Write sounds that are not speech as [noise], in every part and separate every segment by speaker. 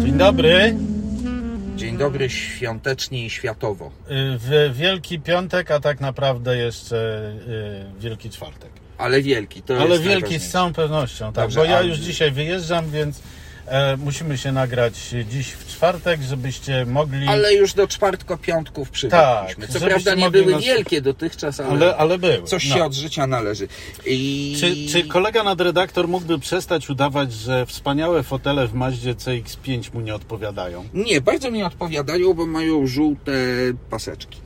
Speaker 1: Dzień dobry.
Speaker 2: Dzień dobry świątecznie i światowo.
Speaker 1: Y, W Wielki Piątek, a tak naprawdę jeszcze y, Wielki Czwartek.
Speaker 2: Ale wielki, to
Speaker 1: Ale
Speaker 2: jest
Speaker 1: Wielki z
Speaker 2: najważniejsze.
Speaker 1: całą pewnością, tak.
Speaker 2: Dobrze,
Speaker 1: bo ja
Speaker 2: a-
Speaker 1: już dzisiaj wyjeżdżam, więc e, musimy się nagrać dziś w czwartek, żebyście mogli.
Speaker 2: Ale już do czwartko-piątków przywykliśmy.
Speaker 1: Tak,
Speaker 2: Co
Speaker 1: żebyście
Speaker 2: prawda nie
Speaker 1: mogli
Speaker 2: były
Speaker 1: nas-
Speaker 2: wielkie dotychczas, ale,
Speaker 1: ale, ale były.
Speaker 2: coś
Speaker 1: No.
Speaker 2: się od życia należy. I...
Speaker 1: Czy, czy kolega nadredaktor mógłby przestać udawać, że wspaniałe fotele w Mazdzie CX5 mu nie odpowiadają?
Speaker 2: Nie, bardzo mi odpowiadają, bo mają żółte paseczki.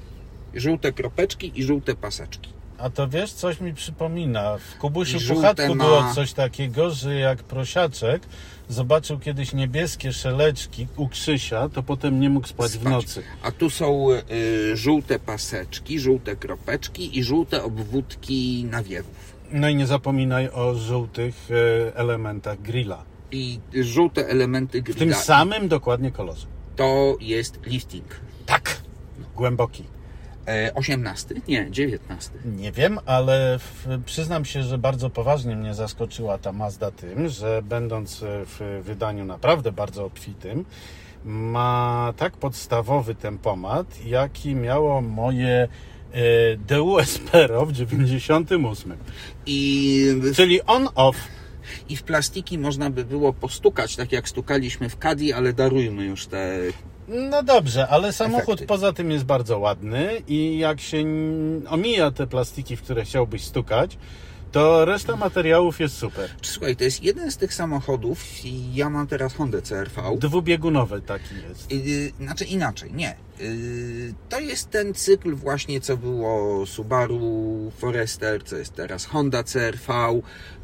Speaker 2: Żółte kropeczki i żółte paseczki.
Speaker 1: A to wiesz, coś mi przypomina. W
Speaker 2: I
Speaker 1: Kubusiu
Speaker 2: żółte
Speaker 1: Puchatku
Speaker 2: ma-
Speaker 1: było coś takiego, że jak prosiaczek zobaczył kiedyś niebieskie szeleczki u Krzysia, to potem nie mógł spać, w
Speaker 2: Spać.
Speaker 1: nocy.
Speaker 2: A tu są y, żółte paseczki, żółte kropeczki i żółte obwódki nawiewów.
Speaker 1: No i nie zapominaj o żółtych e, elementach grilla.
Speaker 2: I żółte elementy
Speaker 1: W tym
Speaker 2: grilla.
Speaker 1: samym dokładnie kolorze.
Speaker 2: To jest lifting.
Speaker 1: Tak. Głęboki.
Speaker 2: E, 18? Nie, 19.
Speaker 1: Nie wiem, ale w, przyznam się, że bardzo poważnie mnie zaskoczyła ta Mazda tym, że będąc e, w wydaniu naprawdę bardzo obfitym, ma tak podstawowy tempomat, jaki miało moje e, DU Espero w 98.
Speaker 2: I w,
Speaker 1: Czyli on-off.
Speaker 2: I w plastiki można by było postukać, tak jak stukaliśmy w Kadi, ale darujmy już te.
Speaker 1: No dobrze, ale samochód
Speaker 2: Efekty.
Speaker 1: poza tym jest bardzo ładny i jak się n- omija te plastiki, w które chciałbyś stukać, to reszta materiałów jest super.
Speaker 2: Słuchaj, to jest jeden z tych samochodów. i Ja mam teraz Hondę CRV.
Speaker 1: Dwubiegunowy taki jest.
Speaker 2: Yy, znaczy inaczej, nie. Yy, to jest ten cykl właśnie, co było Subaru Forester, co jest teraz Honda CRV.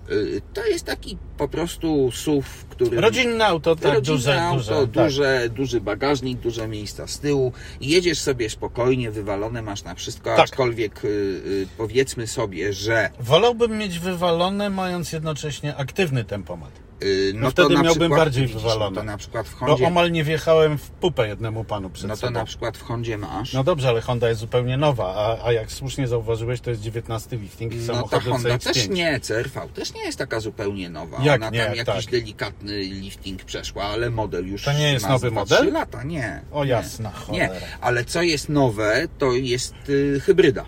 Speaker 2: Yy, to jest taki po prostu SUV, który...
Speaker 1: Rodzinne auto, tak,
Speaker 2: rodzinne
Speaker 1: duże,
Speaker 2: auto,
Speaker 1: duże. tak.
Speaker 2: duże, duży bagażnik, duże miejsca z tyłu. Jedziesz sobie spokojnie, wywalone masz na wszystko,
Speaker 1: Tak.
Speaker 2: aczkolwiek y, y, powiedzmy sobie, że
Speaker 1: Wolałbym mieć wywalone, mając jednocześnie aktywny tempomat.
Speaker 2: y, no,
Speaker 1: No
Speaker 2: to
Speaker 1: wtedy
Speaker 2: na
Speaker 1: miałbym
Speaker 2: przykład,
Speaker 1: bardziej
Speaker 2: widzisz,
Speaker 1: wywalone.
Speaker 2: No to na przykład w
Speaker 1: Bo
Speaker 2: Hondzie,
Speaker 1: omal nie wjechałem w pupę jednemu panu przed
Speaker 2: no to
Speaker 1: sobą.
Speaker 2: na przykład w Hondzie masz.
Speaker 1: No dobrze, ale Honda jest zupełnie nowa, a, a jak słusznie zauważyłeś, to jest 19 lifting i
Speaker 2: No ta
Speaker 1: samochody
Speaker 2: Honda
Speaker 1: CX-5.
Speaker 2: też nie, CRV też nie jest taka zupełnie nowa.
Speaker 1: Jak
Speaker 2: Ona
Speaker 1: nie,
Speaker 2: tam jakiś
Speaker 1: tak.
Speaker 2: delikatny lifting przeszła, ale model już
Speaker 1: To nie jest
Speaker 2: ma
Speaker 1: nowy
Speaker 2: z dwa,
Speaker 1: model?
Speaker 2: trzy lata, nie.
Speaker 1: O jasna
Speaker 2: Nie,
Speaker 1: cholera.
Speaker 2: ale co jest nowe, to jest y, hybryda.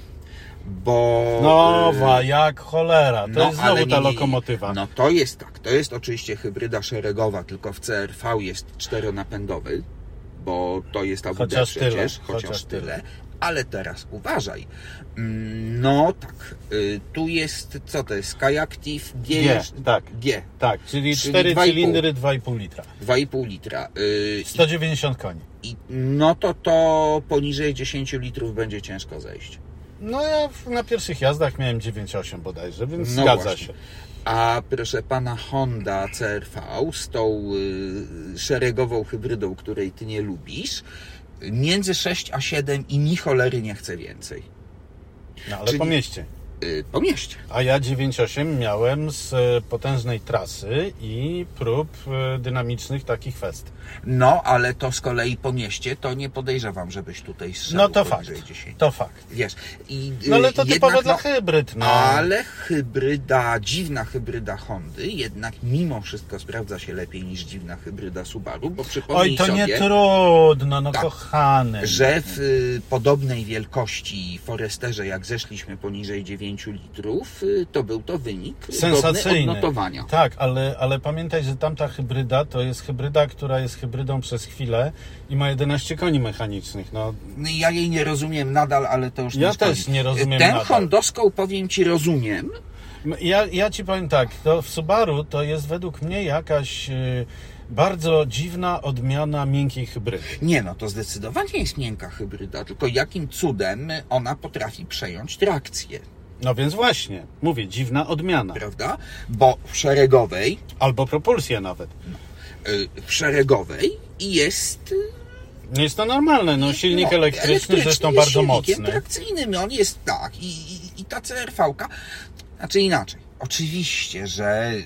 Speaker 2: Bo.
Speaker 1: Nowa, jak cholera. To
Speaker 2: y- No,
Speaker 1: jest znowu
Speaker 2: ale
Speaker 1: ta
Speaker 2: nie, nie,
Speaker 1: lokomotywa.
Speaker 2: No to jest tak, to jest oczywiście hybryda szeregowa, tylko w CRV jest czteronapędowy, bo to jest Abu D
Speaker 1: Chociaż tyle,
Speaker 2: przecież,
Speaker 1: chociaż
Speaker 2: chociaż,
Speaker 1: tyle.
Speaker 2: tyle. Ale teraz uważaj. Mm, No tak, y, tu jest, co to jest, Skyactiv G,
Speaker 1: G, tak.
Speaker 2: G,
Speaker 1: Tak, czyli
Speaker 2: Czyli
Speaker 1: 4
Speaker 2: 2,5.
Speaker 1: cylindry, 2,5 litra.
Speaker 2: 2,5 litra. Y,
Speaker 1: 190 koni.
Speaker 2: i, no to to poniżej 10 litrów będzie ciężko zejść.
Speaker 1: No ja w- na pierwszych jazdach miałem 9,8 bodajże, więc
Speaker 2: No
Speaker 1: zgadza
Speaker 2: właśnie.
Speaker 1: się.
Speaker 2: A proszę pana Honda CRV z tą y, szeregową hybrydą, której ty nie lubisz, między 6 a 7 i ni cholery nie chce więcej.
Speaker 1: No ale
Speaker 2: Czyli-
Speaker 1: po mieście.
Speaker 2: Y, po mieście.
Speaker 1: A ja 9,8 miałem z e, potężnej trasy i prób e, dynamicznych takich fest.
Speaker 2: No, ale to z kolei po mieście, to nie podejrzewam, żebyś tutaj zszedł
Speaker 1: No to
Speaker 2: poniżej
Speaker 1: fakt.
Speaker 2: 10.
Speaker 1: To fakt.
Speaker 2: Wiesz. I, y,
Speaker 1: No ale to
Speaker 2: jednak,
Speaker 1: typowo dla
Speaker 2: no,
Speaker 1: hybryd, no.
Speaker 2: Ale hybryda, dziwna hybryda Hondy jednak mimo wszystko sprawdza się lepiej niż dziwna hybryda Subaru, bo przypomnij
Speaker 1: Oj, to
Speaker 2: sobie...
Speaker 1: nie trudno, no
Speaker 2: Tak.
Speaker 1: kochany.
Speaker 2: że w y, podobnej wielkości Foresterze, jak zeszliśmy poniżej 9 litrów, y, to był to wynik
Speaker 1: Sensacyjny.
Speaker 2: godny odnotowania.
Speaker 1: Tak, ale, ale pamiętaj, że tamta hybryda to jest hybryda, która jest hybrydą przez chwilę i ma 11 koni mechanicznych. No,
Speaker 2: No i Ja jej nie rozumiem nadal, ale to już
Speaker 1: Ja
Speaker 2: nie
Speaker 1: też
Speaker 2: szkodzi.
Speaker 1: nie rozumiem
Speaker 2: Ten
Speaker 1: nadal.
Speaker 2: Hondoską, powiem Ci, rozumiem.
Speaker 1: M- Ja, ja ci powiem tak, to w Subaru to jest według mnie jakaś y, bardzo dziwna odmiana miękkiej hybrydy.
Speaker 2: Nie no, to zdecydowanie jest miękka hybryda, tylko jakim cudem ona potrafi przejąć trakcję,
Speaker 1: No więc właśnie, mówię, dziwna odmiana.
Speaker 2: prawda? Bo w szeregowej,
Speaker 1: Albo propulsja nawet.
Speaker 2: y, w szeregowej jest y,
Speaker 1: No jest to normalne, no silnik
Speaker 2: No,
Speaker 1: elektryczny zresztą
Speaker 2: jest
Speaker 1: bardzo
Speaker 2: silnikiem
Speaker 1: mocny.
Speaker 2: tak, trakcyjnym, on jest tak. I, i, i ta CRV-ka, znaczy inaczej. Oczywiście, że y,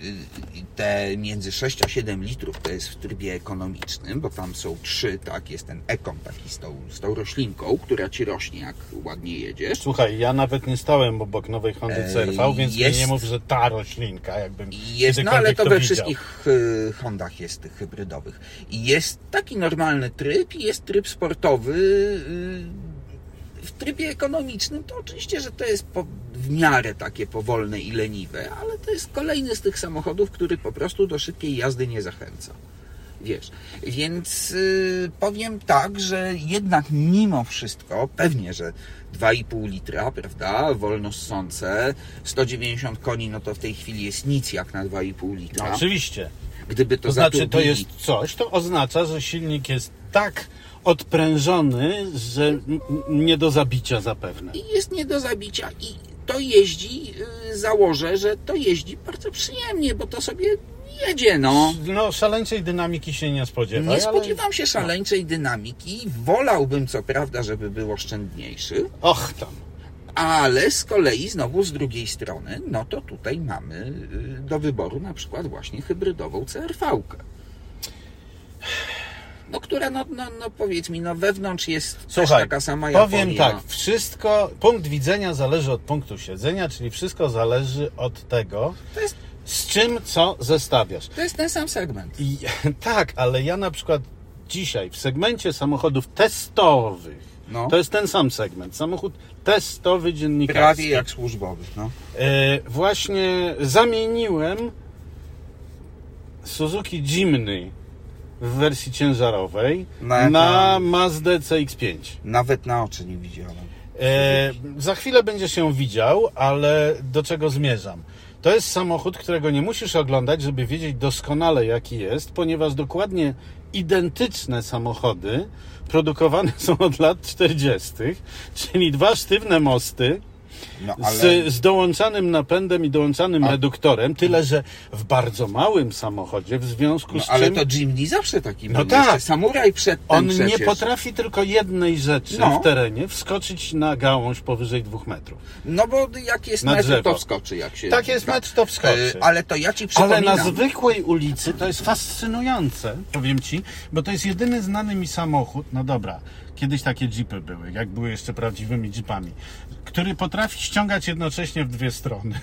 Speaker 2: te między 6 a 7 litrów to jest w trybie ekonomicznym, bo tam są trzy, tak, jest ten ekon taki z tą, z tą roślinką, która ci rośnie jak ładnie jedziesz.
Speaker 1: Słuchaj, ja nawet nie stałem obok nowej Hondy
Speaker 2: Ej,
Speaker 1: CRV, więc mi
Speaker 2: jest-
Speaker 1: nie mów, że ta roślinka, jakbym
Speaker 2: Jest, no ale
Speaker 1: kiedykolwiek
Speaker 2: to we
Speaker 1: widział.
Speaker 2: wszystkich y, Hondach jest tych hybrydowych. I jest taki normalny tryb i jest tryb sportowy. y, W trybie ekonomicznym to oczywiście, że to jest po, w miarę takie powolne i leniwe, ale to jest kolejny z tych samochodów, który po prostu do szybkiej jazdy nie zachęca. Wiesz, więc y, powiem tak, że jednak mimo wszystko, pewnie, że 2,5 litra, prawda, wolno ssące, 190 koni, no to w tej chwili jest nic jak na 2,5
Speaker 1: No,
Speaker 2: litra.
Speaker 1: oczywiście.
Speaker 2: Gdyby to,
Speaker 1: To znaczy, to
Speaker 2: zaturbili-
Speaker 1: jest coś, to oznacza, że silnik jest tak odprężony, że m- m- nie do zabicia zapewne.
Speaker 2: I jest nie do zabicia i to jeździ, y, założę, że to jeździ bardzo przyjemnie, bo to sobie jedzie, no.
Speaker 1: No, szaleńczej dynamiki się nie spodziewaj.
Speaker 2: Nie spodziewam się szaleńczej dynamiki, wolałbym co prawda, żeby był oszczędniejszy,
Speaker 1: Ale... Och tam.
Speaker 2: Ale z kolei znowu z drugiej strony, no to tutaj mamy y, do wyboru na przykład właśnie hybrydową CRV-kę. No która, no, no, no powiedz mi, no wewnątrz jest
Speaker 1: Słuchaj,
Speaker 2: też taka sama
Speaker 1: powiem
Speaker 2: Japonia.
Speaker 1: tak, wszystko, punkt widzenia zależy od punktu siedzenia, czyli wszystko zależy od tego,
Speaker 2: To jest,
Speaker 1: z czym co zestawiasz.
Speaker 2: to jest ten sam segment.
Speaker 1: I, [laughs] tak, ale ja na przykład dzisiaj w segmencie samochodów testowych,
Speaker 2: No.
Speaker 1: to jest ten sam segment, samochód testowy dziennikarski.
Speaker 2: Prawie jak służbowy, no.
Speaker 1: E, właśnie zamieniłem Suzuki Jimny w wersji ciężarowej
Speaker 2: Na-
Speaker 1: na, Mazdę CX-5.
Speaker 2: Nawet na oczy nie widziałem.
Speaker 1: E, za chwilę będziesz ją widział, ale do czego zmierzam? To jest samochód, którego nie musisz oglądać, żeby wiedzieć doskonale jaki jest, ponieważ dokładnie identyczne samochody produkowane są od lat 40., czyli dwa sztywne mosty,
Speaker 2: No ale...
Speaker 1: z, z dołączanym napędem i dołączanym reduktorem, tyle że w bardzo małym samochodzie, w związku
Speaker 2: No,
Speaker 1: z
Speaker 2: ale
Speaker 1: czym
Speaker 2: to Jimny zawsze taki
Speaker 1: No
Speaker 2: był.
Speaker 1: tak.
Speaker 2: Jeszcze Samuraj przed tym
Speaker 1: on
Speaker 2: przecież.
Speaker 1: nie potrafi tylko jednej rzeczy
Speaker 2: No.
Speaker 1: w terenie wskoczyć na gałąź powyżej dwóch metrów.
Speaker 2: No bo jak jest
Speaker 1: Na
Speaker 2: metr,
Speaker 1: drzewo.
Speaker 2: to wskoczy jak się...
Speaker 1: Tak jest metr, to wskoczy.
Speaker 2: Y, Ale to ja ci
Speaker 1: Ale
Speaker 2: przypominam.
Speaker 1: na zwykłej ulicy to jest fascynujące, powiem ci, bo to jest jedyny znany mi samochód, no dobra, kiedyś takie jeepy były, jak były jeszcze prawdziwymi jeepami, który potrafi ściągać jednocześnie w dwie strony.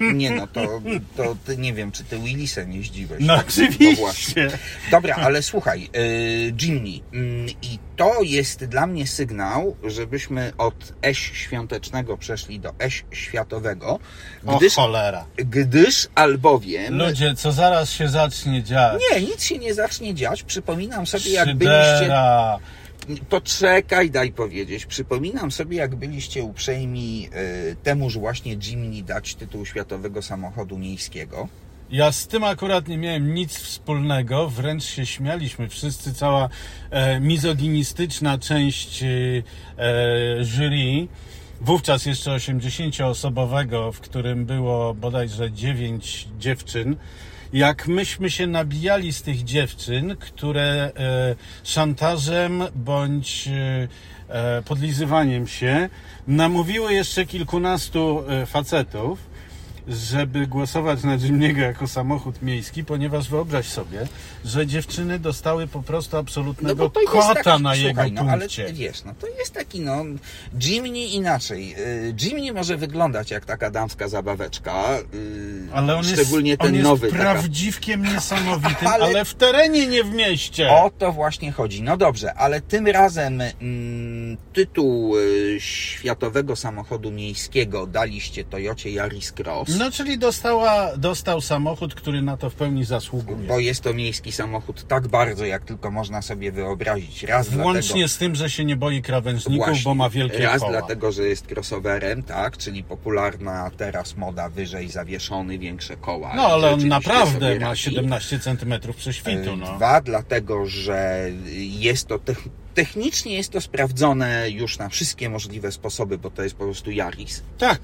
Speaker 2: Nie no, to, to ty nie wiem, czy ty Willisem jeździłeś.
Speaker 1: No
Speaker 2: No właśnie.
Speaker 1: oczywiście.
Speaker 2: Dobra, ale słuchaj, y, Jimny, mm, i to jest dla mnie sygnał, żebyśmy od eś świątecznego przeszli do eś światowego,
Speaker 1: O No,
Speaker 2: gdyż,
Speaker 1: cholera.
Speaker 2: gdyż albowiem...
Speaker 1: Ludzie, co zaraz się zacznie dziać.
Speaker 2: Nie, nic się nie zacznie dziać. Przypominam sobie, jak byliście
Speaker 1: Szydera.
Speaker 2: Poczekaj, daj powiedzieć. Przypominam sobie, jak byliście uprzejmi y, temuż właśnie Jimny dać tytuł Światowego Samochodu Miejskiego.
Speaker 1: Ja z tym akurat nie miałem nic wspólnego, wręcz się śmialiśmy wszyscy, cała e, mizoginistyczna część e, e, jury, wówczas jeszcze 80-osobowego, w którym było bodajże 9 dziewczyn. Jak myśmy się nabijali z tych dziewczyn, które e, szantażem bądź e, e, podlizywaniem się namówiły jeszcze kilkunastu e, facetów, żeby głosować na Jimniego jako samochód miejski, ponieważ wyobraź sobie, że dziewczyny dostały po prostu
Speaker 2: No
Speaker 1: absolutnego kota na jego
Speaker 2: słuchaj, no, ale
Speaker 1: punkcie.
Speaker 2: wiesz, no to jest taki, no, Jimny inaczej. Y, Jimny może wyglądać jak taka damska zabaweczka, y,
Speaker 1: Ale on
Speaker 2: szczególnie
Speaker 1: jest,
Speaker 2: ten
Speaker 1: on jest
Speaker 2: nowy. taka-
Speaker 1: prawdziwkiem niesamowitym,
Speaker 2: [laughs] Ale-
Speaker 1: ale... w terenie, nie w mieście.
Speaker 2: O to właśnie chodzi. No dobrze, ale tym razem mm, tytuł y, Światowego Samochodu Miejskiego daliście Toyocie Yaris Cross.
Speaker 1: No, czyli dostała, dostał samochód, który na to w pełni zasługuje.
Speaker 2: Bo jest to miejski samochód tak bardzo, jak tylko można sobie wyobrazić. Raz
Speaker 1: Włącznie
Speaker 2: dlatego,
Speaker 1: z tym, że się nie boi krawężników,
Speaker 2: właśnie,
Speaker 1: bo ma wielkie
Speaker 2: Raz
Speaker 1: koła.
Speaker 2: dlatego, że jest crossoverem, tak? Czyli popularna teraz moda wyżej zawieszony, większe koła.
Speaker 1: No, ale on
Speaker 2: Rzeczywiście
Speaker 1: naprawdę
Speaker 2: sobie
Speaker 1: ma
Speaker 2: radzi. E,
Speaker 1: 17 centymetrów prześwitu, no.
Speaker 2: Dwa, dlatego, że jest to tech, technicznie jest to sprawdzone już na wszystkie możliwe sposoby, bo to jest po prostu Yaris.
Speaker 1: Tak,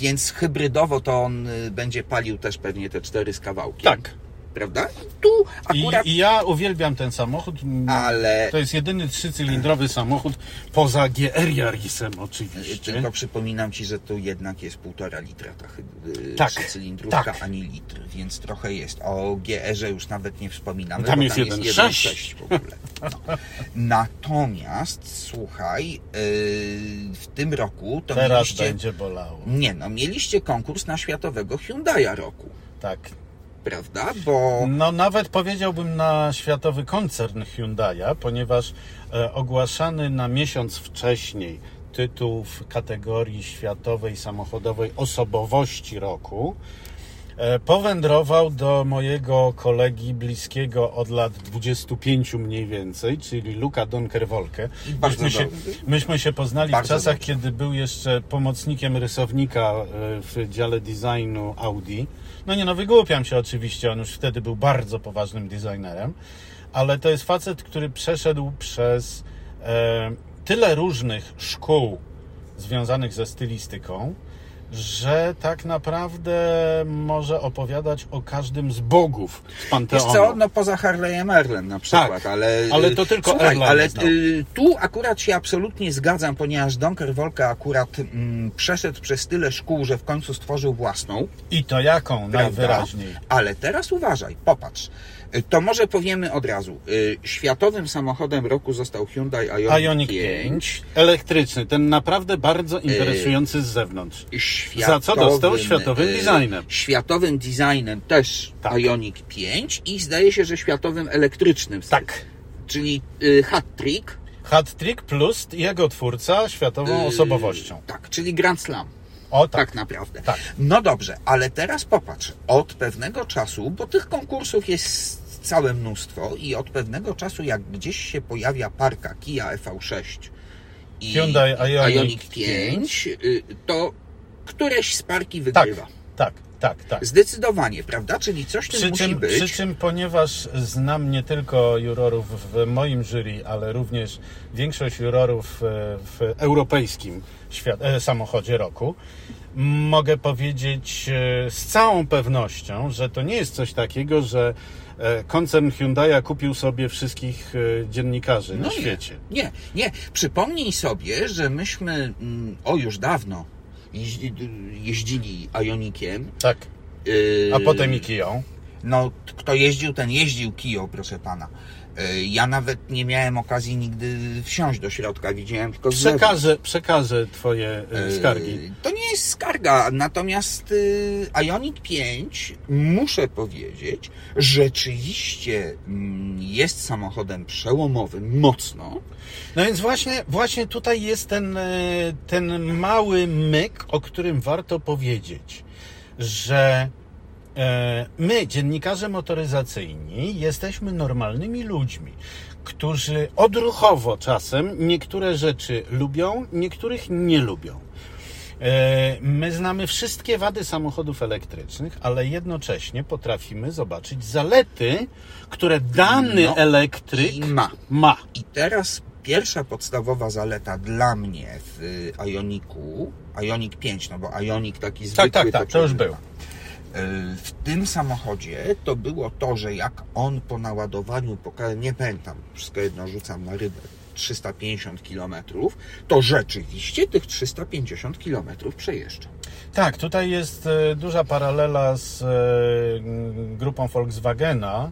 Speaker 2: Więc hybrydowo to on y, będzie palił też pewnie te cztery z kawałkiem.
Speaker 1: tak.
Speaker 2: prawda? I tu
Speaker 1: I,
Speaker 2: akurat...
Speaker 1: I ja uwielbiam ten samochód. m,
Speaker 2: Ale-
Speaker 1: To jest jedyny trzycylindrowy samochód poza GR Yarisem oczywiście.
Speaker 2: Tylko przypominam Ci, że tu jednak jest półtora litra ta chy-
Speaker 1: Tak,
Speaker 2: trzycylindrówka,
Speaker 1: tak.
Speaker 2: a nie litr, więc trochę jest. O GR-ze już nawet nie wspominamy,
Speaker 1: No Tam
Speaker 2: bo
Speaker 1: jest
Speaker 2: tam
Speaker 1: jeden
Speaker 2: jest
Speaker 1: sześć.
Speaker 2: 1,6 w ogóle.
Speaker 1: [laughs]
Speaker 2: No. Natomiast, słuchaj, yy, w tym roku to
Speaker 1: Teraz
Speaker 2: mieliście...
Speaker 1: będzie bolało.
Speaker 2: Nie no, mieliście konkurs na światowego Hyundai'a roku,
Speaker 1: Tak.
Speaker 2: prawda? Bo...
Speaker 1: No nawet powiedziałbym na światowy koncern Hyundai'a, ponieważ e, ogłaszany na miesiąc wcześniej tytuł w kategorii światowej samochodowej osobowości roku e, powędrował do mojego kolegi bliskiego od lat 25 mniej więcej, czyli Luka Donkerwolke.
Speaker 2: I bardzo
Speaker 1: myśmy, się,
Speaker 2: dobrze.
Speaker 1: myśmy się poznali
Speaker 2: Bardzo
Speaker 1: w czasach,
Speaker 2: dobrze.
Speaker 1: kiedy był jeszcze pomocnikiem rysownika e, w dziale designu Audi. No nie no, wygłupiam się oczywiście, on już wtedy był bardzo poważnym designerem, ale to jest facet, który przeszedł przez e, tyle różnych szkół związanych ze stylistyką, że tak naprawdę może opowiadać o każdym z bogów z
Speaker 2: Wiesz
Speaker 1: Panteonu.
Speaker 2: co, no poza Harley'em Erlem na przykład, ale...
Speaker 1: Tak,
Speaker 2: y,
Speaker 1: ale to tylko no.
Speaker 2: słuchaj,
Speaker 1: Erlen
Speaker 2: ale
Speaker 1: znał.
Speaker 2: y, tu akurat się absolutnie zgadzam, ponieważ Donker Wolka akurat mm, przeszedł przez tyle szkół, że w końcu stworzył własną,
Speaker 1: I to jaką
Speaker 2: prawda?
Speaker 1: najwyraźniej.
Speaker 2: Ale teraz uważaj, popatrz. Y, To może powiemy od razu. Y, Światowym samochodem roku został Hyundai Ioniq,
Speaker 1: Ioniq 5, elektryczny, ten naprawdę
Speaker 2: Y.
Speaker 1: bardzo interesujący z zewnątrz.
Speaker 2: światowym,
Speaker 1: Za co dostał światowym
Speaker 2: y,
Speaker 1: designem.
Speaker 2: Światowym designem też
Speaker 1: Tak.
Speaker 2: Ioniq 5 i zdaje się, że światowym elektrycznym.
Speaker 1: Tak.
Speaker 2: Czyli y, hat-trick.
Speaker 1: Hat-trick plus jego twórca światową
Speaker 2: y,
Speaker 1: osobowością.
Speaker 2: Tak, czyli Grand Slam.
Speaker 1: O tak.
Speaker 2: Tak, naprawdę.
Speaker 1: Tak.
Speaker 2: No dobrze, ale teraz popatrz. Od pewnego czasu, bo tych konkursów jest całe mnóstwo i od pewnego czasu, jak gdzieś się pojawia parka Kia EV6 i
Speaker 1: Hyundai Ioniq
Speaker 2: Ioniq 5, y, to któreś z parki
Speaker 1: Tak,
Speaker 2: wygrywa.
Speaker 1: tak, tak, tak.
Speaker 2: Zdecydowanie, prawda? Czyli coś tym
Speaker 1: Przy
Speaker 2: musi
Speaker 1: czym,
Speaker 2: być.
Speaker 1: przy czym, ponieważ znam nie tylko jurorów w moim jury, ale również większość jurorów e, w europejskim świat, e, samochodzie roku, mogę powiedzieć e, z całą pewnością, że to nie jest coś takiego, że e, koncern Hyundai kupił sobie wszystkich e, dziennikarzy na
Speaker 2: No
Speaker 1: świecie.
Speaker 2: Nie, nie, nie. Przypomnij sobie, że myśmy, mm, o już dawno, jeździ, jeździli Ionikiem.
Speaker 1: Tak.
Speaker 2: y,
Speaker 1: A potem i kiją.
Speaker 2: No, t- kto jeździł, ten jeździł Kijo, proszę pana. Y, Ja nawet nie miałem okazji nigdy wsiąść do środka, widziałem tylko z zewnątrz.
Speaker 1: Przekażę, przekażę twoje e, skargi.
Speaker 2: Y, To nie jest skarga, natomiast y, Ioniq 5, muszę powiedzieć, rzeczywiście mm, jest samochodem przełomowym, mocno.
Speaker 1: No więc właśnie, właśnie tutaj jest ten, e, ten mały myk, o którym warto powiedzieć, że e, my, dziennikarze motoryzacyjni, jesteśmy normalnymi ludźmi, którzy odruchowo czasem niektóre rzeczy lubią, niektórych nie lubią. E, My znamy wszystkie wady samochodów elektrycznych, ale jednocześnie potrafimy zobaczyć zalety, które dany
Speaker 2: No,
Speaker 1: elektryk
Speaker 2: I ma.
Speaker 1: ma.
Speaker 2: I teraz pierwsza podstawowa zaleta dla mnie w y, Ioniku, Ioniq 5, no bo Ioniq taki zwykły...
Speaker 1: Tak, tak, tak, to już był.
Speaker 2: Y, W tym samochodzie to było to, że jak on po naładowaniu, po, ka- nie pamiętam, wszystko jedno rzucam na rybę, 350 km, to rzeczywiście tych 350 km przejeżdża.
Speaker 1: Tak, tutaj jest e, duża paralela z e, m, grupą Volkswagena,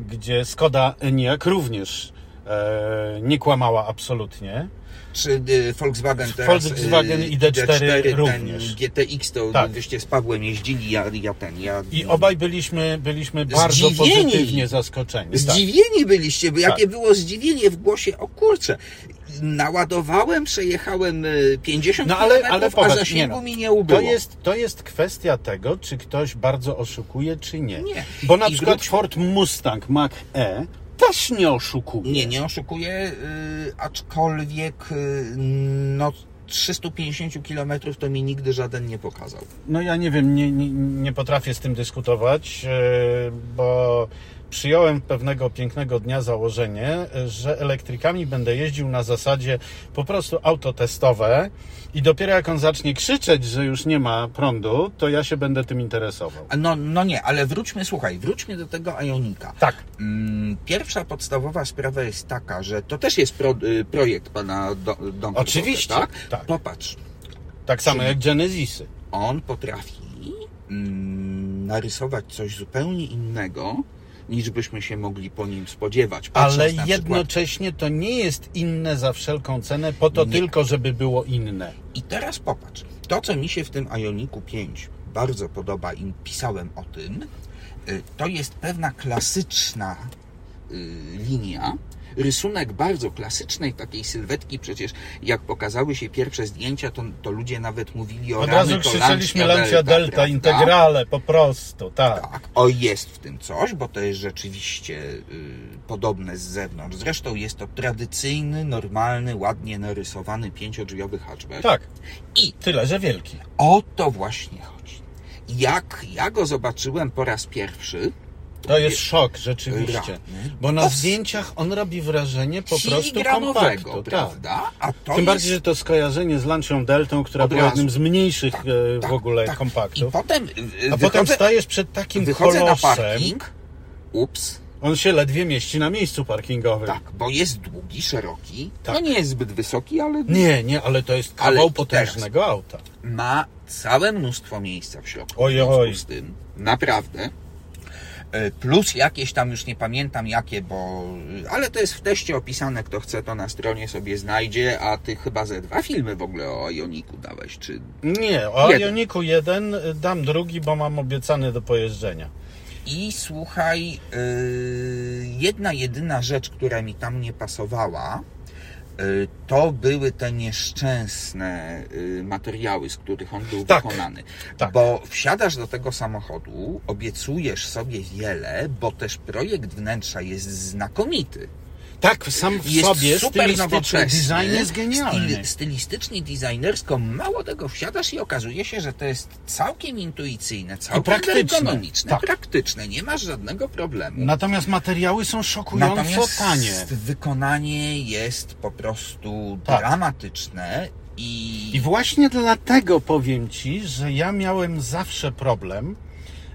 Speaker 1: gdzie Skoda Enyaq również e, nie kłamała absolutnie.
Speaker 2: Czy y, Volkswagen teraz...
Speaker 1: Volkswagen
Speaker 2: y,
Speaker 1: i D4
Speaker 2: ten
Speaker 1: również.
Speaker 2: GTX to
Speaker 1: Tak.
Speaker 2: wyście z Pawłem jeździli, ja, ja ten, ja...
Speaker 1: I obaj byliśmy, byliśmy bardzo
Speaker 2: Zdziwieni.
Speaker 1: pozytywnie zaskoczeni. Tak.
Speaker 2: Zdziwieni byliście, bo jakie
Speaker 1: Tak.
Speaker 2: było zdziwienie w głosie, o kurczę, naładowałem, przejechałem y, 50
Speaker 1: No ale-
Speaker 2: kilometrów,
Speaker 1: ale
Speaker 2: a
Speaker 1: popatrz,
Speaker 2: zasięgu
Speaker 1: nie no.
Speaker 2: mi nie ubyło.
Speaker 1: To jest, to jest kwestia tego, czy ktoś bardzo oszukuje, czy nie.
Speaker 2: Nie.
Speaker 1: Bo na
Speaker 2: I
Speaker 1: przykład
Speaker 2: wróć-
Speaker 1: Ford Mustang Mach E też nie oszukuje.
Speaker 2: Nie, nie oszukuję, y, aczkolwiek y, no 350 km to mi nigdy żaden nie pokazał.
Speaker 1: No ja nie wiem, nie, nie, nie potrafię z tym dyskutować, e, bo przyjąłem pewnego pięknego dnia założenie, że elektrykami będę jeździł na zasadzie po prostu autotestowe i dopiero jak on zacznie krzyczeć, że już nie ma prądu, to ja się będę tym interesował.
Speaker 2: A No, no nie, ale wróćmy, słuchaj, wróćmy do tego Ionika.
Speaker 1: Tak,
Speaker 2: Mm, Pierwsza podstawowa sprawa jest taka, że to też jest pro, y, projekt pana do, Dąbrowskiego,
Speaker 1: Oczywiście,
Speaker 2: tak?
Speaker 1: tak.
Speaker 2: Popatrz,
Speaker 1: tak samo jak Genesisy.
Speaker 2: on potrafi mm, narysować coś zupełnie innego, niż byśmy się mogli po nim spodziewać. Patrząc
Speaker 1: Ale
Speaker 2: na przykład
Speaker 1: jednocześnie to nie jest inne za wszelką cenę, po to
Speaker 2: Nie.
Speaker 1: tylko, żeby było inne.
Speaker 2: I teraz popatrz. To, co mi się w tym Ioniku 5 bardzo podoba i pisałem o tym, y, to jest pewna klasyczna y, linia. Rysunek bardzo klasycznej takiej sylwetki, przecież jak pokazały się pierwsze zdjęcia, to, to ludzie nawet mówili o
Speaker 1: Od
Speaker 2: rany,
Speaker 1: razu
Speaker 2: to
Speaker 1: krzyczeliśmy
Speaker 2: Lancia
Speaker 1: Lancia Delta,
Speaker 2: tak, prawda?
Speaker 1: integrale, po prostu, tak.
Speaker 2: Tak, o jest w tym coś, bo to jest rzeczywiście y, podobne z zewnątrz. Zresztą jest to tradycyjny, normalny, ładnie narysowany pięciodrzwiowy hatchback.
Speaker 1: Tak.
Speaker 2: I-
Speaker 1: Tyle, że wielki.
Speaker 2: O to właśnie chodzi. Jak ja go zobaczyłem po raz pierwszy,
Speaker 1: To jest szok, rzeczywiście.
Speaker 2: Rany.
Speaker 1: Bo na
Speaker 2: Os-
Speaker 1: zdjęciach on robi wrażenie po prostu
Speaker 2: filigranowego,
Speaker 1: kompaktu. Tak.
Speaker 2: prawda? A to
Speaker 1: Tym bardziej,
Speaker 2: jest...
Speaker 1: że to skojarzenie z Lancią Deltą, która
Speaker 2: Od
Speaker 1: była
Speaker 2: razu.
Speaker 1: jednym z mniejszych
Speaker 2: Tak,
Speaker 1: e,
Speaker 2: tak,
Speaker 1: w ogóle
Speaker 2: tak. I
Speaker 1: kompaktów.
Speaker 2: potem y,
Speaker 1: A
Speaker 2: wychodzę,
Speaker 1: potem stajesz przed takim
Speaker 2: wychodzę na
Speaker 1: kolosem.
Speaker 2: parking, ups,
Speaker 1: On się ledwie mieści na miejscu parkingowym.
Speaker 2: tak, bo jest długi, szeroki,
Speaker 1: Tak.
Speaker 2: no nie jest zbyt wysoki, ale
Speaker 1: Nie, nie, ale to jest kawał
Speaker 2: Ale
Speaker 1: potężnego auta.
Speaker 2: ma całe mnóstwo miejsca w środku.
Speaker 1: Oj,
Speaker 2: w związku
Speaker 1: oj.
Speaker 2: z tym, naprawdę. E, Plus jakieś tam, już nie pamiętam jakie, bo... e, Ale to jest w teście opisane, kto chce to na stronie sobie znajdzie, a ty chyba ze dwa filmy w ogóle o Ioniku dałeś, czy...
Speaker 1: Nie, o
Speaker 2: Jeden.
Speaker 1: Ioniku jeden y, dam drugi, bo mam obiecany do pojeżdżenia.
Speaker 2: I słuchaj, y, jedna jedyna rzecz, która mi tam nie pasowała, y, to były te nieszczęsne y, materiały, z których on był
Speaker 1: Tak,
Speaker 2: wykonany.
Speaker 1: tak.
Speaker 2: Bo wsiadasz do tego samochodu, obiecujesz sobie wiele, bo też projekt wnętrza jest znakomity.
Speaker 1: Tak, sam w
Speaker 2: Jest
Speaker 1: sobie
Speaker 2: super
Speaker 1: stylistyczny
Speaker 2: nowoczesny.
Speaker 1: design jest genialny.
Speaker 2: styl- stylistycznie, designersko, mało tego wsiadasz i okazuje się, że to jest całkiem intuicyjne, całkiem
Speaker 1: praktyczne.
Speaker 2: ergonomiczne,
Speaker 1: Tak.
Speaker 2: praktyczne. Nie masz żadnego problemu.
Speaker 1: Natomiast materiały są szokująco
Speaker 2: Natomiast
Speaker 1: tanie.
Speaker 2: wykonanie jest po prostu
Speaker 1: Tak.
Speaker 2: dramatyczne i,
Speaker 1: I właśnie dlatego powiem Ci, że ja miałem zawsze problem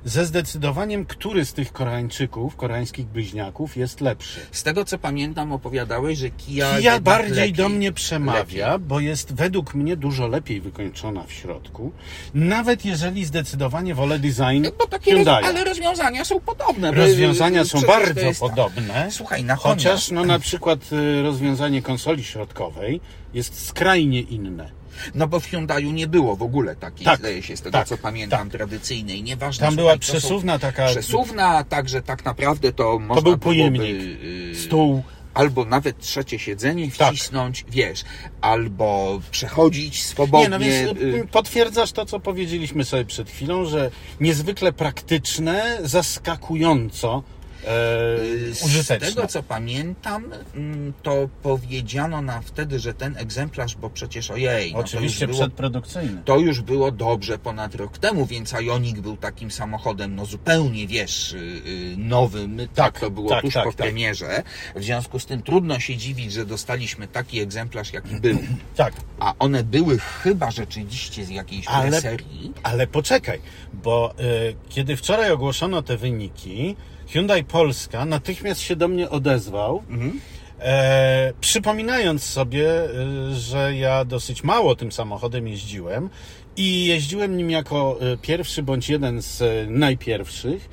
Speaker 1: ze zdecydowaniem, który z tych Koreańczyków, koreańskich bliźniaków jest lepszy.
Speaker 2: z tego co pamiętam opowiadałeś, że Kia,
Speaker 1: Kija
Speaker 2: jednak
Speaker 1: bardziej
Speaker 2: lepiej.
Speaker 1: do mnie przemawia, bo jest według mnie dużo lepiej wykończona w środku. Nawet jeżeli zdecydowanie wolę design
Speaker 2: No, Bo takie roz,
Speaker 1: Hyundai.
Speaker 2: ale rozwiązania są podobne. bo-
Speaker 1: Rozwiązania są
Speaker 2: przecież to
Speaker 1: bardzo
Speaker 2: jest tak.
Speaker 1: podobne.
Speaker 2: Słuchaj, natomiast...
Speaker 1: Chociaż no na przykład y, rozwiązanie konsoli środkowej jest skrajnie inne.
Speaker 2: No bo w Hyundaiu nie było w ogóle takiej,
Speaker 1: Tak,
Speaker 2: zdaje się, z tego
Speaker 1: tak,
Speaker 2: co pamiętam, tradycyjnej. Nieważne.
Speaker 1: Tam
Speaker 2: słuchaj,
Speaker 1: była
Speaker 2: to są
Speaker 1: przesuwna taka
Speaker 2: Przesuwna, także tak naprawdę to można
Speaker 1: był
Speaker 2: byłoby,
Speaker 1: pojemnik.
Speaker 2: y,
Speaker 1: stół.
Speaker 2: Albo nawet trzecie siedzenie
Speaker 1: Tak.
Speaker 2: wcisnąć, wiesz, albo przechodzić swobodnie.
Speaker 1: Nie, no więc
Speaker 2: y,
Speaker 1: y, potwierdzasz to, co powiedzieliśmy sobie przed chwilą, że niezwykle praktyczne, zaskakująco e,
Speaker 2: Y, Z
Speaker 1: użyteczne.
Speaker 2: tego co pamiętam, mm, to powiedziano nam wtedy, że ten egzemplarz, bo przecież ojej, no
Speaker 1: Oczywiście
Speaker 2: to, już było,
Speaker 1: przedprodukcyjne.
Speaker 2: to już było dobrze ponad rok temu, więc Ioniq był takim samochodem, no zupełnie wiesz, y, y, nowym. Tak,
Speaker 1: Tak,
Speaker 2: to było
Speaker 1: tak,
Speaker 2: tuż
Speaker 1: tak,
Speaker 2: po
Speaker 1: tak.
Speaker 2: premierze. W związku z tym trudno się dziwić, że dostaliśmy taki egzemplarz, jaki był.
Speaker 1: Tak,
Speaker 2: A one były chyba rzeczywiście z jakiejś
Speaker 1: Ale-
Speaker 2: serii.
Speaker 1: ale poczekaj, bo y, kiedy wczoraj ogłoszono te wyniki, Hyundai Polska natychmiast się do mnie odezwał,
Speaker 2: Mhm.
Speaker 1: e, przypominając sobie, y, że ja dosyć mało tym samochodem jeździłem i jeździłem nim jako y, pierwszy bądź jeden z y, najpierwszych.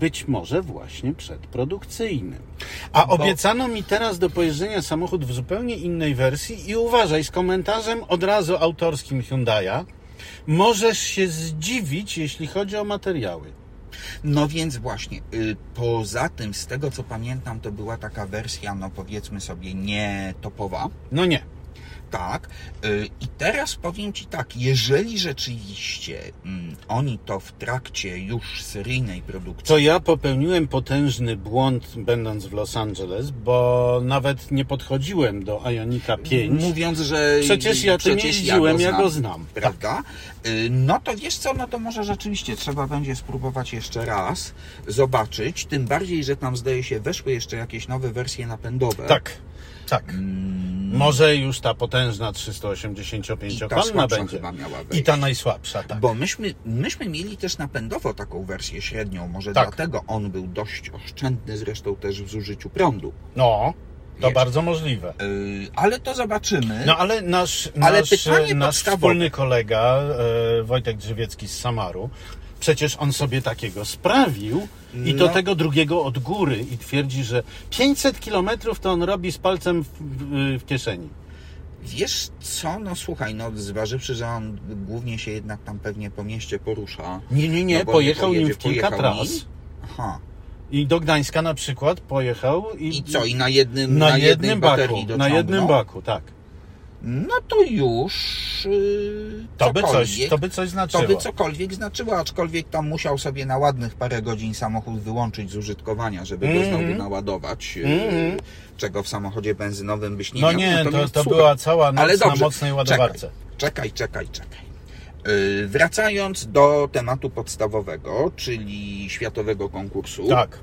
Speaker 1: Być może właśnie przedprodukcyjnym. A
Speaker 2: Bo-
Speaker 1: obiecano mi teraz do pojeżdżenia samochód w zupełnie innej wersji i uważaj, z komentarzem od razu autorskim Hyundai'a możesz się zdziwić, jeśli chodzi o materiały.
Speaker 2: No więc właśnie, y, poza tym, z tego co pamiętam, to była taka wersja, no powiedzmy sobie, nietopowa.
Speaker 1: No nie.
Speaker 2: Tak. y, I teraz powiem Ci tak, jeżeli rzeczywiście mm, oni to w trakcie już seryjnej produkcji.
Speaker 1: To ja popełniłem potężny błąd, będąc w Los Angeles, bo nawet nie podchodziłem do Ionika 5.
Speaker 2: Mówiąc, że.
Speaker 1: Przecież ja tym
Speaker 2: przecież
Speaker 1: jeździłem, ja go znam.
Speaker 2: Prawda? Y, No to wiesz co, no to może rzeczywiście trzeba będzie spróbować jeszcze raz, zobaczyć. Tym bardziej, że tam zdaje się weszły jeszcze jakieś nowe wersje napędowe.
Speaker 1: Tak, tak. Może już ta potężna 385
Speaker 2: Mm. I ta
Speaker 1: konna
Speaker 2: słabsza
Speaker 1: będzie.
Speaker 2: chyba miała
Speaker 1: I
Speaker 2: wejść.
Speaker 1: ta najsłabsza, tak.
Speaker 2: Bo myśmy, myśmy mieli też napędowo taką wersję średnią, może
Speaker 1: Tak.
Speaker 2: dlatego on był dość oszczędny, zresztą też w zużyciu prądu.
Speaker 1: No, to
Speaker 2: Jest.
Speaker 1: bardzo możliwe.
Speaker 2: Yy, ale to zobaczymy.
Speaker 1: No ale nasz,
Speaker 2: Ale
Speaker 1: nasz,
Speaker 2: pytanie
Speaker 1: nasz
Speaker 2: podstawowe.
Speaker 1: wspólny kolega e, Wojtek Drzewiecki z Samaru, przecież on sobie takiego sprawił i to
Speaker 2: No.
Speaker 1: tego drugiego od góry i twierdzi, że 500 kilometrów to on robi z palcem w, w, w kieszeni.
Speaker 2: Wiesz co, no słuchaj, no zważywszy, że on głównie się jednak tam pewnie po mieście porusza.
Speaker 1: Nie, nie, nie,
Speaker 2: no bo
Speaker 1: pojechał
Speaker 2: pojedzie-
Speaker 1: nim w kilka
Speaker 2: pojechał
Speaker 1: tras
Speaker 2: nim. Aha.
Speaker 1: i do Gdańska na przykład pojechał i,
Speaker 2: I co, i na jednym,
Speaker 1: na,
Speaker 2: jednej
Speaker 1: jednym baku,
Speaker 2: baterii
Speaker 1: na jednym
Speaker 2: dociągnął?
Speaker 1: baku, tak.
Speaker 2: No to już... Yy,
Speaker 1: To by, coś,
Speaker 2: cokolwiek.
Speaker 1: to by coś znaczyło.
Speaker 2: To by cokolwiek znaczyło, aczkolwiek tam musiał sobie na ładnych parę godzin samochód wyłączyć z użytkowania, żeby go
Speaker 1: Mhm.
Speaker 2: znowu naładować, e,
Speaker 1: Mhm.
Speaker 2: czego w samochodzie benzynowym byś nie
Speaker 1: No
Speaker 2: miał.
Speaker 1: nie, to,
Speaker 2: Natomiast
Speaker 1: to
Speaker 2: słuchaj,
Speaker 1: była cała noc
Speaker 2: ale dobrze,
Speaker 1: na mocnej ładowarce.
Speaker 2: Czekaj, czekaj, czekaj. E, Wracając do tematu podstawowego, czyli światowego konkursu,
Speaker 1: Tak.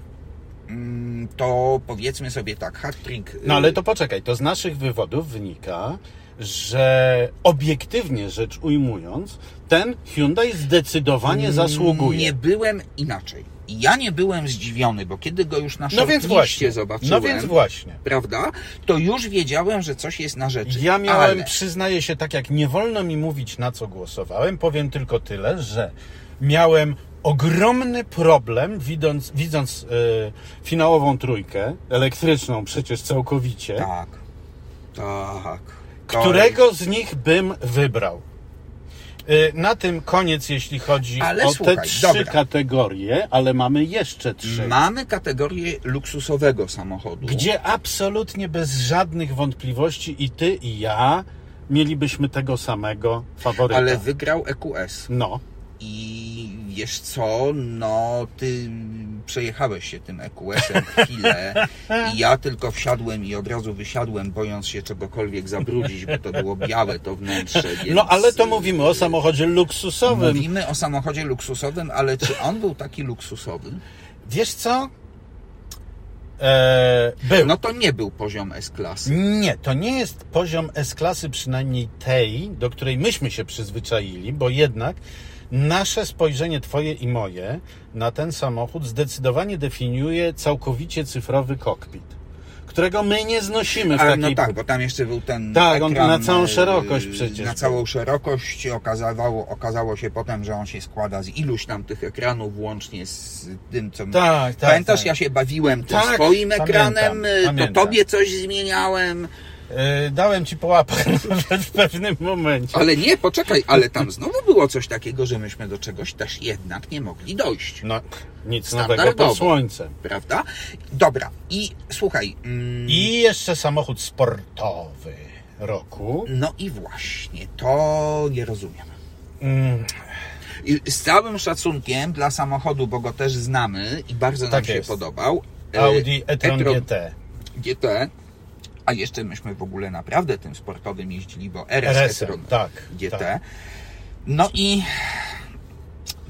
Speaker 2: mm, to powiedzmy sobie tak, hat-trick... e,
Speaker 1: No ale to poczekaj, to z naszych wywodów wynika, że obiektywnie rzecz ujmując, ten Hyundai zdecydowanie zasługuje.
Speaker 2: Mm,
Speaker 1: No
Speaker 2: Nie byłem inaczej. Ja nie byłem zdziwiony, bo kiedy go już na
Speaker 1: no więc właśnie.
Speaker 2: zobaczyłem,
Speaker 1: No więc właśnie.
Speaker 2: prawda, to już wiedziałem, że coś jest na rzeczy.
Speaker 1: Ja miałem,
Speaker 2: Ale
Speaker 1: przyznaję się, tak jak nie wolno mi mówić, na co głosowałem, powiem tylko tyle, że miałem ogromny problem, widząc, widząc y, finałową trójkę, elektryczną przecież całkowicie,
Speaker 2: tak, tak. To
Speaker 1: Którego z nich bym wybrał? Y, Na tym koniec, jeśli chodzi
Speaker 2: Ale
Speaker 1: o te
Speaker 2: słuchaj,
Speaker 1: trzy
Speaker 2: dobra.
Speaker 1: kategorie, ale mamy jeszcze trzy,
Speaker 2: Mamy kategorię luksusowego samochodu.
Speaker 1: gdzie absolutnie bez żadnych wątpliwości i ty, i ja mielibyśmy tego samego faworyta.
Speaker 2: Ale wygrał EQS.
Speaker 1: No,
Speaker 2: I wiesz co, no ty przejechałeś się tym
Speaker 1: [laughs]
Speaker 2: EQS-em chwilę i ja tylko wsiadłem i od razu wysiadłem, bojąc się czegokolwiek zabrudzić, bo to było białe to wnętrze. Więc... y,
Speaker 1: no ale to mówimy o samochodzie luksusowym.
Speaker 2: Mówimy o samochodzie luksusowym, ale czy on był taki luksusowy?
Speaker 1: Wiesz co? Eee, był.
Speaker 2: No to nie był poziom S-klasy.
Speaker 1: Nie, to nie jest poziom S-klasy, przynajmniej tej, do której myśmy się przyzwyczaili, bo jednak nasze spojrzenie, twoje i moje, na ten samochód zdecydowanie definiuje całkowicie cyfrowy kokpit, którego my nie znosimy w
Speaker 2: Ale
Speaker 1: takiej...
Speaker 2: no tak, bo tam jeszcze był ten
Speaker 1: Tak, on
Speaker 2: ekran,
Speaker 1: na całą
Speaker 2: e,
Speaker 1: szerokość przecież
Speaker 2: Na
Speaker 1: był.
Speaker 2: całą szerokość okazało, okazało się potem, że on się składa z iluś tam tych ekranów, łącznie z tym, co...
Speaker 1: Tak, tak,
Speaker 2: Pamiętasz,
Speaker 1: tak.
Speaker 2: ja się bawiłem tym
Speaker 1: Tak,
Speaker 2: swoim
Speaker 1: pamiętam,
Speaker 2: ekranem, e,
Speaker 1: pamiętam.
Speaker 2: to tobie coś zmieniałem,
Speaker 1: Yy, dałem ci po łapach [laughs] nawet w pewnym momencie.
Speaker 2: ale nie, poczekaj, ale tam znowu było coś takiego, że myśmy do czegoś też jednak nie mogli dojść.
Speaker 1: No, nic nowego
Speaker 2: Standardowo.
Speaker 1: pod słońcem.
Speaker 2: Prawda? Dobra, i słuchaj. Mm,
Speaker 1: I jeszcze samochód sportowy roku.
Speaker 2: No i właśnie, to nie rozumiem.
Speaker 1: Mm,
Speaker 2: I z całym szacunkiem dla samochodu, bo go też znamy i bardzo nam
Speaker 1: Tak
Speaker 2: się
Speaker 1: jest.
Speaker 2: podobał. E,
Speaker 1: Audi e-tron GT.
Speaker 2: GT. A jeszcze myśmy w ogóle naprawdę tym sportowym jeździli, bo RS,
Speaker 1: RS,
Speaker 2: e-tron
Speaker 1: tak.
Speaker 2: GT.
Speaker 1: tak.
Speaker 2: No i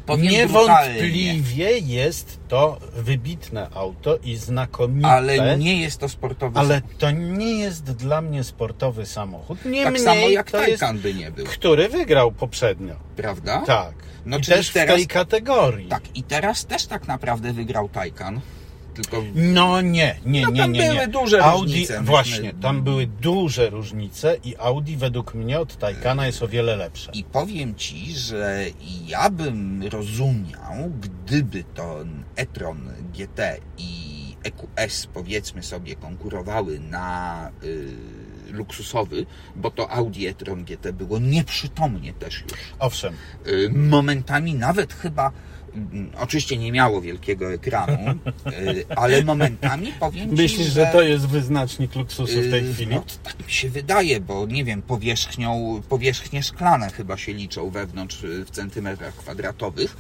Speaker 2: powiem brutalnie,
Speaker 1: Niewątpliwie jest to wybitne auto i znakomite,
Speaker 2: ale nie jest to sportowy
Speaker 1: ale to nie jest dla mnie sportowy samochód. Nie
Speaker 2: Tak
Speaker 1: mniej
Speaker 2: samo jak
Speaker 1: to jest,
Speaker 2: Taycan by nie był,
Speaker 1: który wygrał poprzednio.
Speaker 2: prawda?
Speaker 1: Tak.
Speaker 2: No
Speaker 1: I
Speaker 2: czyli
Speaker 1: też w
Speaker 2: teraz-
Speaker 1: tej kategorii.
Speaker 2: Tak, i teraz też tak naprawdę wygrał Taycan, tylko
Speaker 1: No nie, nie,
Speaker 2: No,
Speaker 1: nie,
Speaker 2: tam
Speaker 1: nie, nie.
Speaker 2: były duże
Speaker 1: Audi,
Speaker 2: różnice, myśmy-
Speaker 1: Właśnie, tam były duże różnice i Audi według mnie od Taycana jest o wiele lepsze.
Speaker 2: I powiem ci, że ja bym rozumiał, gdyby to e-tron GT i EQS powiedzmy sobie konkurowały na y, luksusowy, bo to Audi e-tron GT było nieprzytomnie też już.
Speaker 1: Owszem,
Speaker 2: Y, momentami nawet chyba Mm, Oczywiście nie miało wielkiego ekranu, y, ale momentami powiem ci,
Speaker 1: Myślisz, że to jest wyznacznik luksusu w tej
Speaker 2: Yy,
Speaker 1: chwili?
Speaker 2: No, to tak mi się wydaje, bo nie wiem, powierzchnią, powierzchnie szklane chyba się liczą wewnątrz yy, w centymetrach kwadratowych.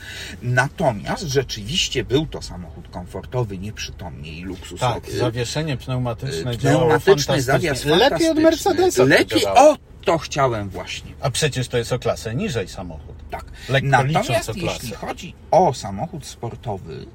Speaker 2: Natomiast rzeczywiście był to samochód komfortowy, nieprzytomny i luksusowy.
Speaker 1: Tak, zawieszenie pneumatyczne
Speaker 2: Yy,
Speaker 1: działało
Speaker 2: Pneumatyczny zawias
Speaker 1: fantastycznie. Lepiej od
Speaker 2: fantastyczny.
Speaker 1: Mercedesa to
Speaker 2: Lepiej,
Speaker 1: działało.
Speaker 2: o to chciałem właśnie.
Speaker 1: A przecież to jest o klasę niżej samochód.
Speaker 2: Tak.
Speaker 1: Lekko licząc
Speaker 2: Natomiast
Speaker 1: o klasę.
Speaker 2: jeśli chodzi o samochód sportowy,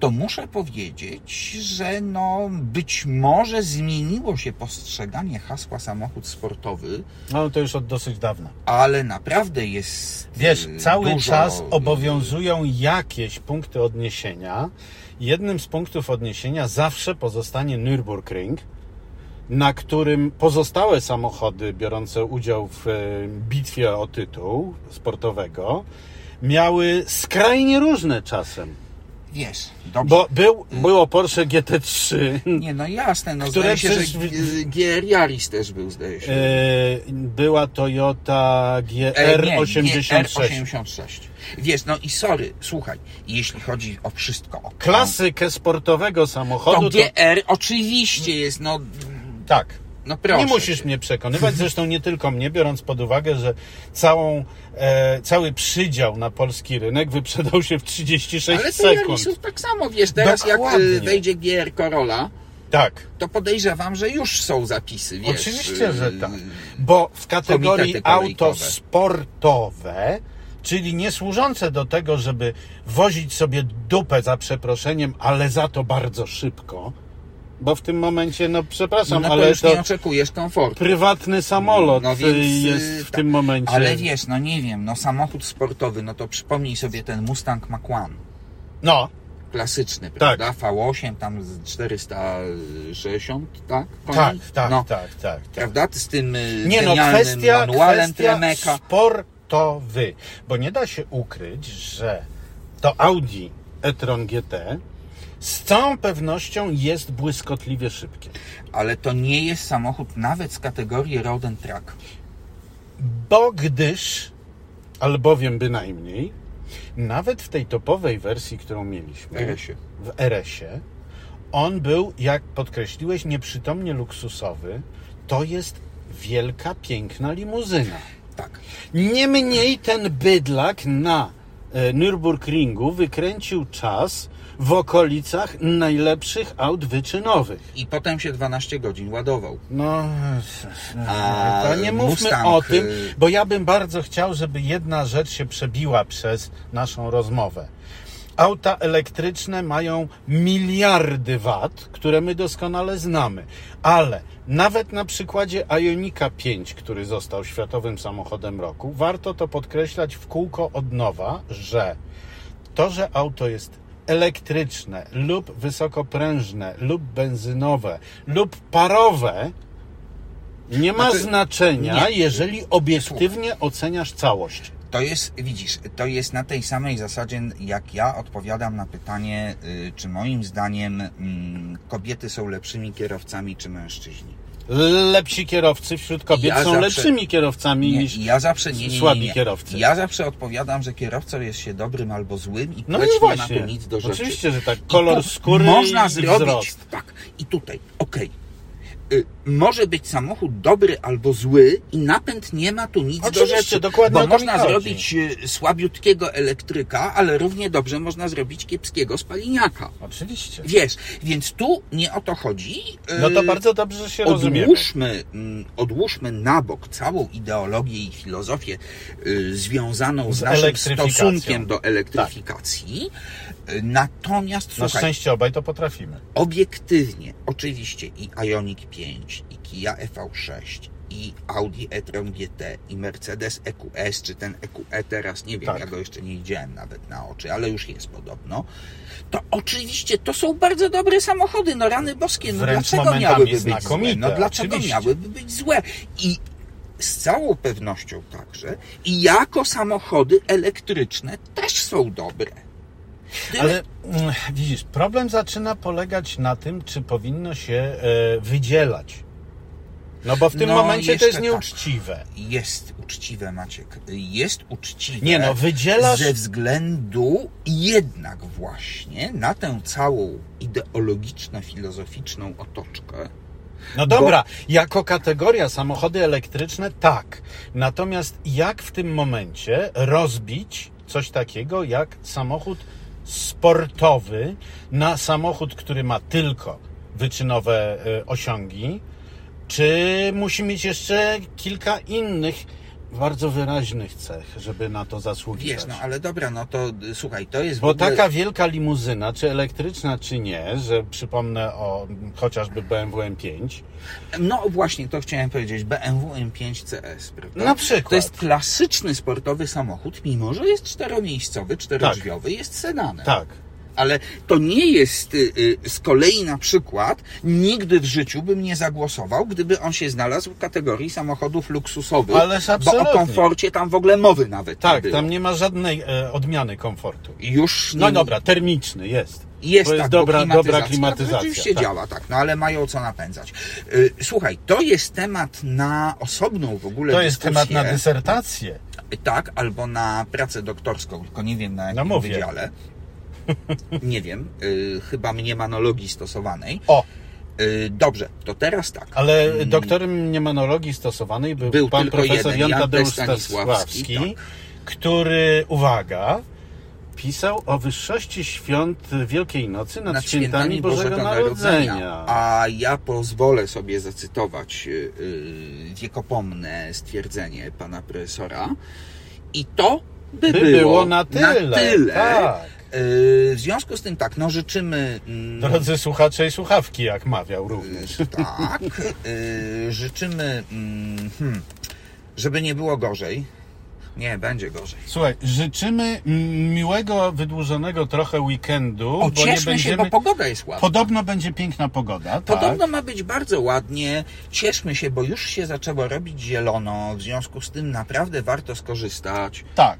Speaker 2: to muszę powiedzieć, że no być może zmieniło się postrzeganie hasła samochód sportowy,
Speaker 1: No to już od dosyć dawna.
Speaker 2: ale naprawdę jest.
Speaker 1: Wiesz,
Speaker 2: y,
Speaker 1: cały
Speaker 2: dużo,
Speaker 1: czas
Speaker 2: y,
Speaker 1: obowiązują jakieś punkty odniesienia. Jednym z punktów odniesienia zawsze pozostanie Nürburgring, na którym pozostałe samochody biorące udział w e, bitwie o tytuł sportowego miały skrajnie różne czasem.
Speaker 2: Wiesz, dobrze.
Speaker 1: Bo był, było Porsche GT3,
Speaker 2: Nie, no jasne, no
Speaker 1: Które
Speaker 2: zdaje się, że
Speaker 1: przecież w-
Speaker 2: y, GR Yaris też był, zdaje się.
Speaker 1: e, była Toyota
Speaker 2: E, nie,
Speaker 1: GR86.
Speaker 2: R86. Wiesz, no i sorry, słuchaj, jeśli chodzi o wszystko, o
Speaker 1: Klasykę sportowego
Speaker 2: to
Speaker 1: samochodu to,
Speaker 2: GR oczywiście jest, no,
Speaker 1: tak.
Speaker 2: no proszę.
Speaker 1: nie musisz
Speaker 2: cię.
Speaker 1: mnie przekonywać, zresztą nie tylko mnie, biorąc pod uwagę, że całą, e, cały przydział na polski rynek wyprzedał się w 36
Speaker 2: Ale to
Speaker 1: sekund.
Speaker 2: Jarisów tak samo, wiesz, teraz jak
Speaker 1: Dokładnie.
Speaker 2: y, wejdzie GR Corolla,
Speaker 1: Tak,
Speaker 2: to podejrzewam, że już są zapisy, wiesz.
Speaker 1: oczywiście,
Speaker 2: y,
Speaker 1: że tak. Bo w kategorii
Speaker 2: komitety kolejkowe.
Speaker 1: auto sportowe, czyli nie służące do tego, żeby wozić sobie dupę za przeproszeniem, ale za to bardzo szybko, bo w tym momencie, no przepraszam,
Speaker 2: No to
Speaker 1: ale
Speaker 2: już
Speaker 1: to
Speaker 2: nie oczekujesz komfortu.
Speaker 1: prywatny samolot
Speaker 2: No więc,
Speaker 1: y, jest
Speaker 2: y,
Speaker 1: w
Speaker 2: tak.
Speaker 1: tym momencie.
Speaker 2: Ale wiesz, no nie wiem, no samochód sportowy, no to przypomnij sobie ten Mustang Mach-1.
Speaker 1: No,
Speaker 2: Klasyczny,
Speaker 1: Tak.
Speaker 2: prawda? V8, tam z 460, tak? Koni?
Speaker 1: tak, tak,
Speaker 2: no,
Speaker 1: tak, tak, tak.
Speaker 2: Prawda? Z tym y,
Speaker 1: Nie no,
Speaker 2: genialnym
Speaker 1: kwestia,
Speaker 2: manualem
Speaker 1: kwestia
Speaker 2: Tremeka.
Speaker 1: sportowy, bo nie da się ukryć, że to Audi e-tron GT z całą pewnością jest błyskotliwie szybkie.
Speaker 2: Ale to nie jest samochód nawet z kategorii Road and Track.
Speaker 1: Bo gdyż, albowiem bynajmniej, nawet w tej topowej wersji, którą mieliśmy
Speaker 2: RS-ie.
Speaker 1: w E RS-ie, on był, jak podkreśliłeś, nieprzytomnie luksusowy. To jest wielka, piękna limuzyna.
Speaker 2: Tak.
Speaker 1: Niemniej ten bydlak na e, Nürburgringu wykręcił czas w okolicach najlepszych aut wyczynowych.
Speaker 2: I potem się 12 godzin ładował.
Speaker 1: No,
Speaker 2: A,
Speaker 1: to nie mówmy
Speaker 2: Mustang,
Speaker 1: o tym,
Speaker 2: y-
Speaker 1: bo ja bym bardzo chciał, żeby jedna rzecz się przebiła przez naszą rozmowę. Auta elektryczne mają miliardy wad, które my doskonale znamy, ale nawet na przykładzie Ionika 5, który został światowym samochodem roku, warto to podkreślać w kółko od nowa, że to, że auto jest elektryczne lub wysokoprężne lub benzynowe lub parowe, nie ma
Speaker 2: Znaczy,
Speaker 1: znaczenia,
Speaker 2: nie.
Speaker 1: jeżeli obiektywnie oceniasz całość.
Speaker 2: To jest, widzisz, to jest na tej samej zasadzie, jak ja odpowiadam na pytanie, y, czy moim zdaniem mm, kobiety są lepszymi kierowcami, czy mężczyźni.
Speaker 1: Lepsi kierowcy wśród kobiet
Speaker 2: Ja
Speaker 1: są
Speaker 2: zawsze-
Speaker 1: lepszymi kierowcami
Speaker 2: Nie,
Speaker 1: niż.
Speaker 2: i ja zawsze nie, nie, nie,
Speaker 1: słabi
Speaker 2: nie.
Speaker 1: kierowcy.
Speaker 2: Ja zawsze odpowiadam, że kierowcą jest się dobrym albo złym i
Speaker 1: No
Speaker 2: płeć
Speaker 1: i
Speaker 2: nie ma
Speaker 1: właśnie.
Speaker 2: tu nic do rzeczy.
Speaker 1: Oczywiście, że tak.
Speaker 2: I
Speaker 1: Kolor
Speaker 2: tu
Speaker 1: skóry
Speaker 2: można
Speaker 1: i
Speaker 2: zrobić,
Speaker 1: wzrost.
Speaker 2: Tak, i tutaj, okej. Y, Może być samochód dobry albo zły i napęd nie ma tu nic do
Speaker 1: Oczywiście,
Speaker 2: rzeczy.
Speaker 1: dokładnie o to
Speaker 2: bo
Speaker 1: mi
Speaker 2: można
Speaker 1: chodzi.
Speaker 2: zrobić y, słabiutkiego elektryka, ale równie dobrze można zrobić kiepskiego spaliniaka.
Speaker 1: Oczywiście.
Speaker 2: Wiesz, więc tu nie o to chodzi. y,
Speaker 1: No to bardzo dobrze że się rozumiemy.
Speaker 2: odłóżmy, mm, odłóżmy na bok całą ideologię i filozofię y, związaną z,
Speaker 1: Z
Speaker 2: naszym
Speaker 1: elektryfikacją. Tak.
Speaker 2: stosunkiem do elektryfikacji. Y, Natomiast
Speaker 1: Na
Speaker 2: słuchaj,
Speaker 1: szczęście obaj to potrafimy.
Speaker 2: obiektywnie, oczywiście i Ioniq 5, i Kia EV6, i Audi e-tron GT, i Mercedes EQS, czy ten EQE teraz, nie wiem,
Speaker 1: Tak.
Speaker 2: ja go jeszcze nie widziałem nawet na oczy, ale już jest podobno, to oczywiście to są bardzo dobre samochody, no rany boskie, no
Speaker 1: Wręcz
Speaker 2: dlaczego
Speaker 1: momentami
Speaker 2: miałyby być
Speaker 1: znakomite,
Speaker 2: złe? No dlaczego
Speaker 1: oczywiście.
Speaker 2: miałyby być złe? I z całą pewnością także, i jako samochody elektryczne też są dobre. Tyle
Speaker 1: Ale mm, widzisz, problem zaczyna polegać na tym, czy powinno się e, wydzielać. No bo w tym
Speaker 2: No,
Speaker 1: momencie to
Speaker 2: jeszcze
Speaker 1: jest
Speaker 2: tak.
Speaker 1: nieuczciwe.
Speaker 2: Jest uczciwe, Maciek. Jest uczciwe.
Speaker 1: Nie no, wydzielasz...
Speaker 2: Ze względu jednak właśnie na tę całą ideologiczno-filozoficzną otoczkę,
Speaker 1: No dobra, jako kategoria samochody elektryczne tak. Natomiast jak w tym momencie rozbić coś takiego jak samochód sportowy na samochód, który ma tylko wyczynowe e, osiągi? Czy musi mieć jeszcze kilka innych bardzo wyraźnych cech, żeby na to zasługiwać?
Speaker 2: wiesz, no ale dobra, no to y, słuchaj, to jest w
Speaker 1: Bo
Speaker 2: ogóle...
Speaker 1: taka wielka limuzyna, czy elektryczna, czy nie, że przypomnę o mm, chociażby BMW M5,
Speaker 2: No właśnie, to chciałem powiedzieć, BMW M5 CS, prawda?
Speaker 1: Na przykład.
Speaker 2: To jest klasyczny sportowy samochód, mimo że jest czteromiejscowy, czterodrzwiowy, jest sedanem.
Speaker 1: tak,
Speaker 2: Ale to nie jest y, y, z kolei na przykład, nigdy w życiu bym nie zagłosował, gdyby on się znalazł w kategorii samochodów luksusowych.
Speaker 1: Ależ
Speaker 2: bo
Speaker 1: absolutnie.
Speaker 2: o komforcie tam w ogóle mowy nawet nie
Speaker 1: Tak,
Speaker 2: było.
Speaker 1: tam nie ma żadnej e, odmiany komfortu.
Speaker 2: Już nie
Speaker 1: No dobra, termiczny jest.
Speaker 2: Jest,
Speaker 1: to jest
Speaker 2: tak, bo
Speaker 1: dobra, dobra
Speaker 2: To
Speaker 1: klimatyzacja.
Speaker 2: rzeczywiście
Speaker 1: tak.
Speaker 2: działa, tak, no ale mają co napędzać. Y, Słuchaj, to jest temat na osobną w ogóle
Speaker 1: To jest
Speaker 2: dyskusję,
Speaker 1: temat na dysertację.
Speaker 2: Tak, albo na pracę doktorską, tylko nie wiem na jakim
Speaker 1: No mówię. [laughs]
Speaker 2: wydziale. Nie wiem, y, chyba mniemanologii stosowanej.
Speaker 1: O,
Speaker 2: Y, dobrze, to teraz tak.
Speaker 1: ale doktorem mniemanologii stosowanej był,
Speaker 2: Był
Speaker 1: pan
Speaker 2: tylko
Speaker 1: profesor
Speaker 2: jeden,
Speaker 1: Jan
Speaker 2: Jan
Speaker 1: Tadeusz
Speaker 2: Stanisławski, tak.
Speaker 1: Stanisławski, który, uwaga, pisał o wyższości świąt Wielkiej Nocy nad, świętami, Bożego, Narodzenia.
Speaker 2: A ja pozwolę sobie zacytować y, y, wiekopomne stwierdzenie pana profesora. I to by,
Speaker 1: By
Speaker 2: było,
Speaker 1: było na tyle.
Speaker 2: Na tyle.
Speaker 1: Tak.
Speaker 2: Y, w związku z tym tak, no życzymy... mm,
Speaker 1: Drodzy słuchacze i słuchawki, jak mawiał również.
Speaker 2: y, Tak. y, Życzymy, mm, hmm, żeby nie było gorzej. Nie, będzie gorzej.
Speaker 1: Słuchaj, życzymy mm, miłego, wydłużonego trochę weekendu, bo nie
Speaker 2: Ocieszmy
Speaker 1: będziemy...
Speaker 2: się, bo pogoda jest ładna.
Speaker 1: Podobno będzie piękna pogoda.
Speaker 2: Podobno
Speaker 1: Tak.
Speaker 2: ma być bardzo ładnie. Cieszmy się, bo już się zaczęło robić zielono. W związku z tym naprawdę warto skorzystać
Speaker 1: tak.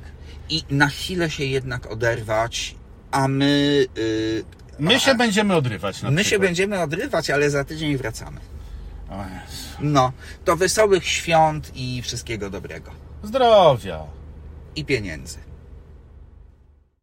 Speaker 2: i na chwilę się jednak oderwać, a my. y,
Speaker 1: My się będziemy odrywać. Na
Speaker 2: my się
Speaker 1: przykład.
Speaker 2: będziemy odrywać, ale za tydzień wracamy.
Speaker 1: O Jezu.
Speaker 2: No, to wesołych świąt i wszystkiego dobrego.
Speaker 1: Zdrowia.
Speaker 2: I pieniędzy.